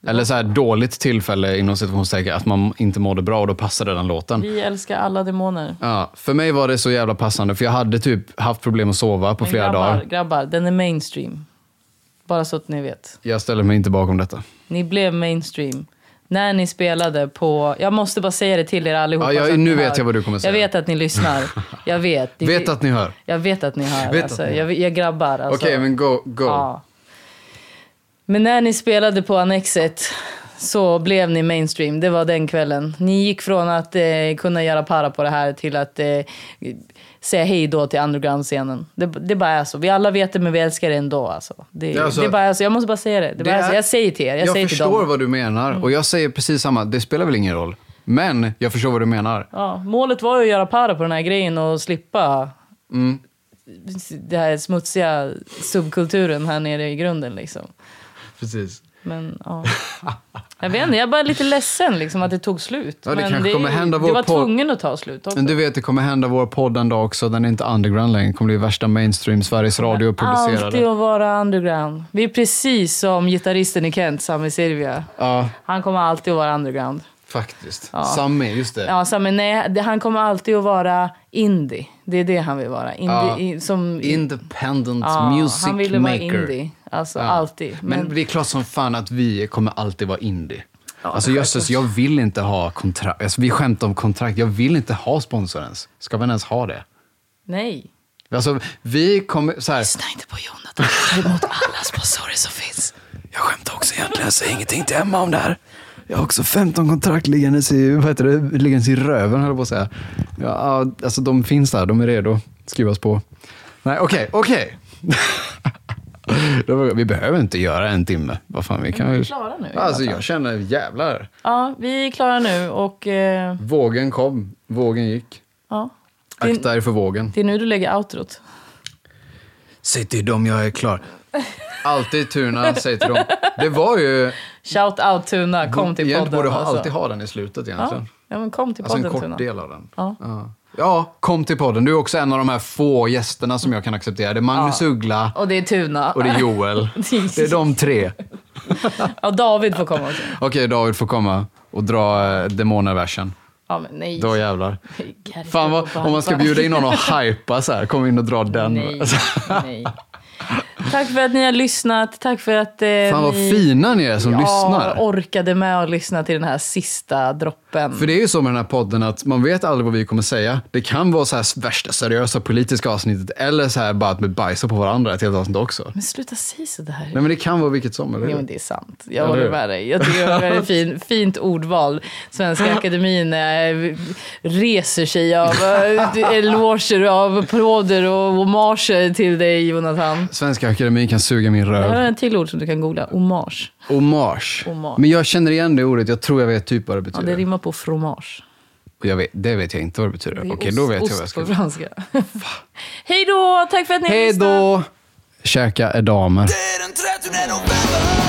Eller så här dåligt tillfälle inom situationstecken, att man inte mådde bra och då passade den låten. Vi älskar alla demoner. Ja, för mig var det så jävla passande, för jag hade typ haft problem att sova på Men flera grabbar, dagar. grabbar, den är mainstream. Bara så att ni vet. Jag ställer mig inte bakom detta. Ni blev mainstream. När ni spelade på... Jag måste bara säga det till er allihopa. Ja, jag- så att ni nu vet hör. jag vad du kommer säga. Jag vet att ni lyssnar. Jag vet. Ni- Vet att ni hör. Jag vet att ni hör. Vet alltså. att ni hör. Jag, jag grabbar. Alltså. Okej, men go. go. Ja. Men när ni spelade på Annexet så blev ni mainstream. Det var den kvällen. Ni gick från att eh, kunna göra para på det här till att eh, säga hej då till underground-scenen. Det, det bara är så. Vi alla vet det, men vi älskar det ändå. Alltså. Det, Ja, alltså, det bara är så. Jag måste bara säga det. det, bara det är, så. är- Alltså, Jag säger till er. Jag, Jag, säger till förstår dem. vad du menar och jag säger precis samma. Det spelar väl ingen roll. Men jag förstår vad du menar. Ja, målet var ju att göra para på den här grejen och slippa Mm. den här smutsiga subkulturen här nere i grunden. Liksom. Precis. Men ja. Jag vet inte, jag är bara lite ledsen liksom att det tog slut. Ja, det men kanske kommer hända Det vår var podd. tvungen att ta slut också. Men du vet, det kommer hända vår podd en dag också. Den är inte underground längre. Den kommer bli värsta mainstream. Sveriges Radio publicerar Alltid den. att vara underground. Vi är precis som gitarristen i Kent, Sami Silvia. Ja, Han kommer alltid att vara underground. faktiskt. Ja. Sammy, just det. Ja, Sami, nej, det- han kommer alltid att vara indie. Det är det han vill vara. Indie, Ja. i- som, Independent ja, music Han ville vara maker. indie. Alltså Ja. alltid. Men, det är klart som fan att vi kommer alltid vara indie. alltså jösses, jag vill inte ha kontrakt. Alltså, vi skämtar om kontrakt. Jag vill inte ha sponsor ens. Ska man ens ha det? nej. Alltså, vi kommer... Så här, Lyssna inte på Jonathan. Ta emot alla sponsorer som finns. jag skämtar också egentligen. Jag säger ingenting till Emma om det här. Jag har också 15 kontrakt liggandes i, vad heter det, liggandes i röven, höll jag på att säga. Ja, Ja, alltså, de finns där. De är redo. Skrivas på. Nej, okej, okej. Det var- vi behöver inte göra en timme. Vad fan, vi kan vi är ju... klara nu i alla Alltså, fall. jag känner jävlar. Ja, vi är klara nu och... Eh, Vågen kom, vågen gick. Ja. Det är, Akta er för vågen. det är nu du lägger outrot. Säg till dem jag är klar. Alltid Tuna, säg till dem. Det var ju... Shout out Tuna, kom till Egentligen podden. borde ha, alltså. alltid ha den i slutet ja. egentligen. ja, men kom till Alltså podden en kort Tuna. del av den. Ja. Ja. ja, kom till podden. Du är också en av de här få gästerna som jag kan acceptera. Det är Magnus Uggla Och det är Tuna. och det är Joel. Det är de tre. Ja, David får komma också. Okej, David får komma och dra eh, demonerversen. Ja, men nej. Då jävlar. Fan vad, om man ska bjuda in någon och hypa så här, kom in och dra den. Alltså, Nej, nej. Tack för att ni har lyssnat. Tack för att eh, Fan vad ni fina ni är som lyssnar. orkade med att lyssna till den här sista droppen. För det är ju så med den här podden att man vet aldrig vad vi kommer säga. Det kan vara så här värsta seriösa politiska avsnittet eller så här bara att vi bajsar på varandra ett helt avsnitt också. Men sluta säga sådär. Nej men det kan vara vilket som, eller Jo, hur? men det är sant. Jag Eller håller hur? med dig. Jag tycker det var ett väldigt fin, fint ordval. Svenska akademin eh, reser sig av eh, eloger, av applåder och homager till dig, Jonathan. Svenska Akademin kan suga min Jag har röv. en till ord som du kan googla. Hommage. Hommage. Hommage. Men jag känner igen det ordet, jag tror jag vet typ vad det Ja, det betyder. rimmar på fromage. Och jag vet, det vet jag inte vad det betyder. Det är Okej, då ost- vet jag vad ost jag ska... på franska. Hej då! Tack för att ni har Hej lyssnat. då! Käka edamer. Det är den 30 november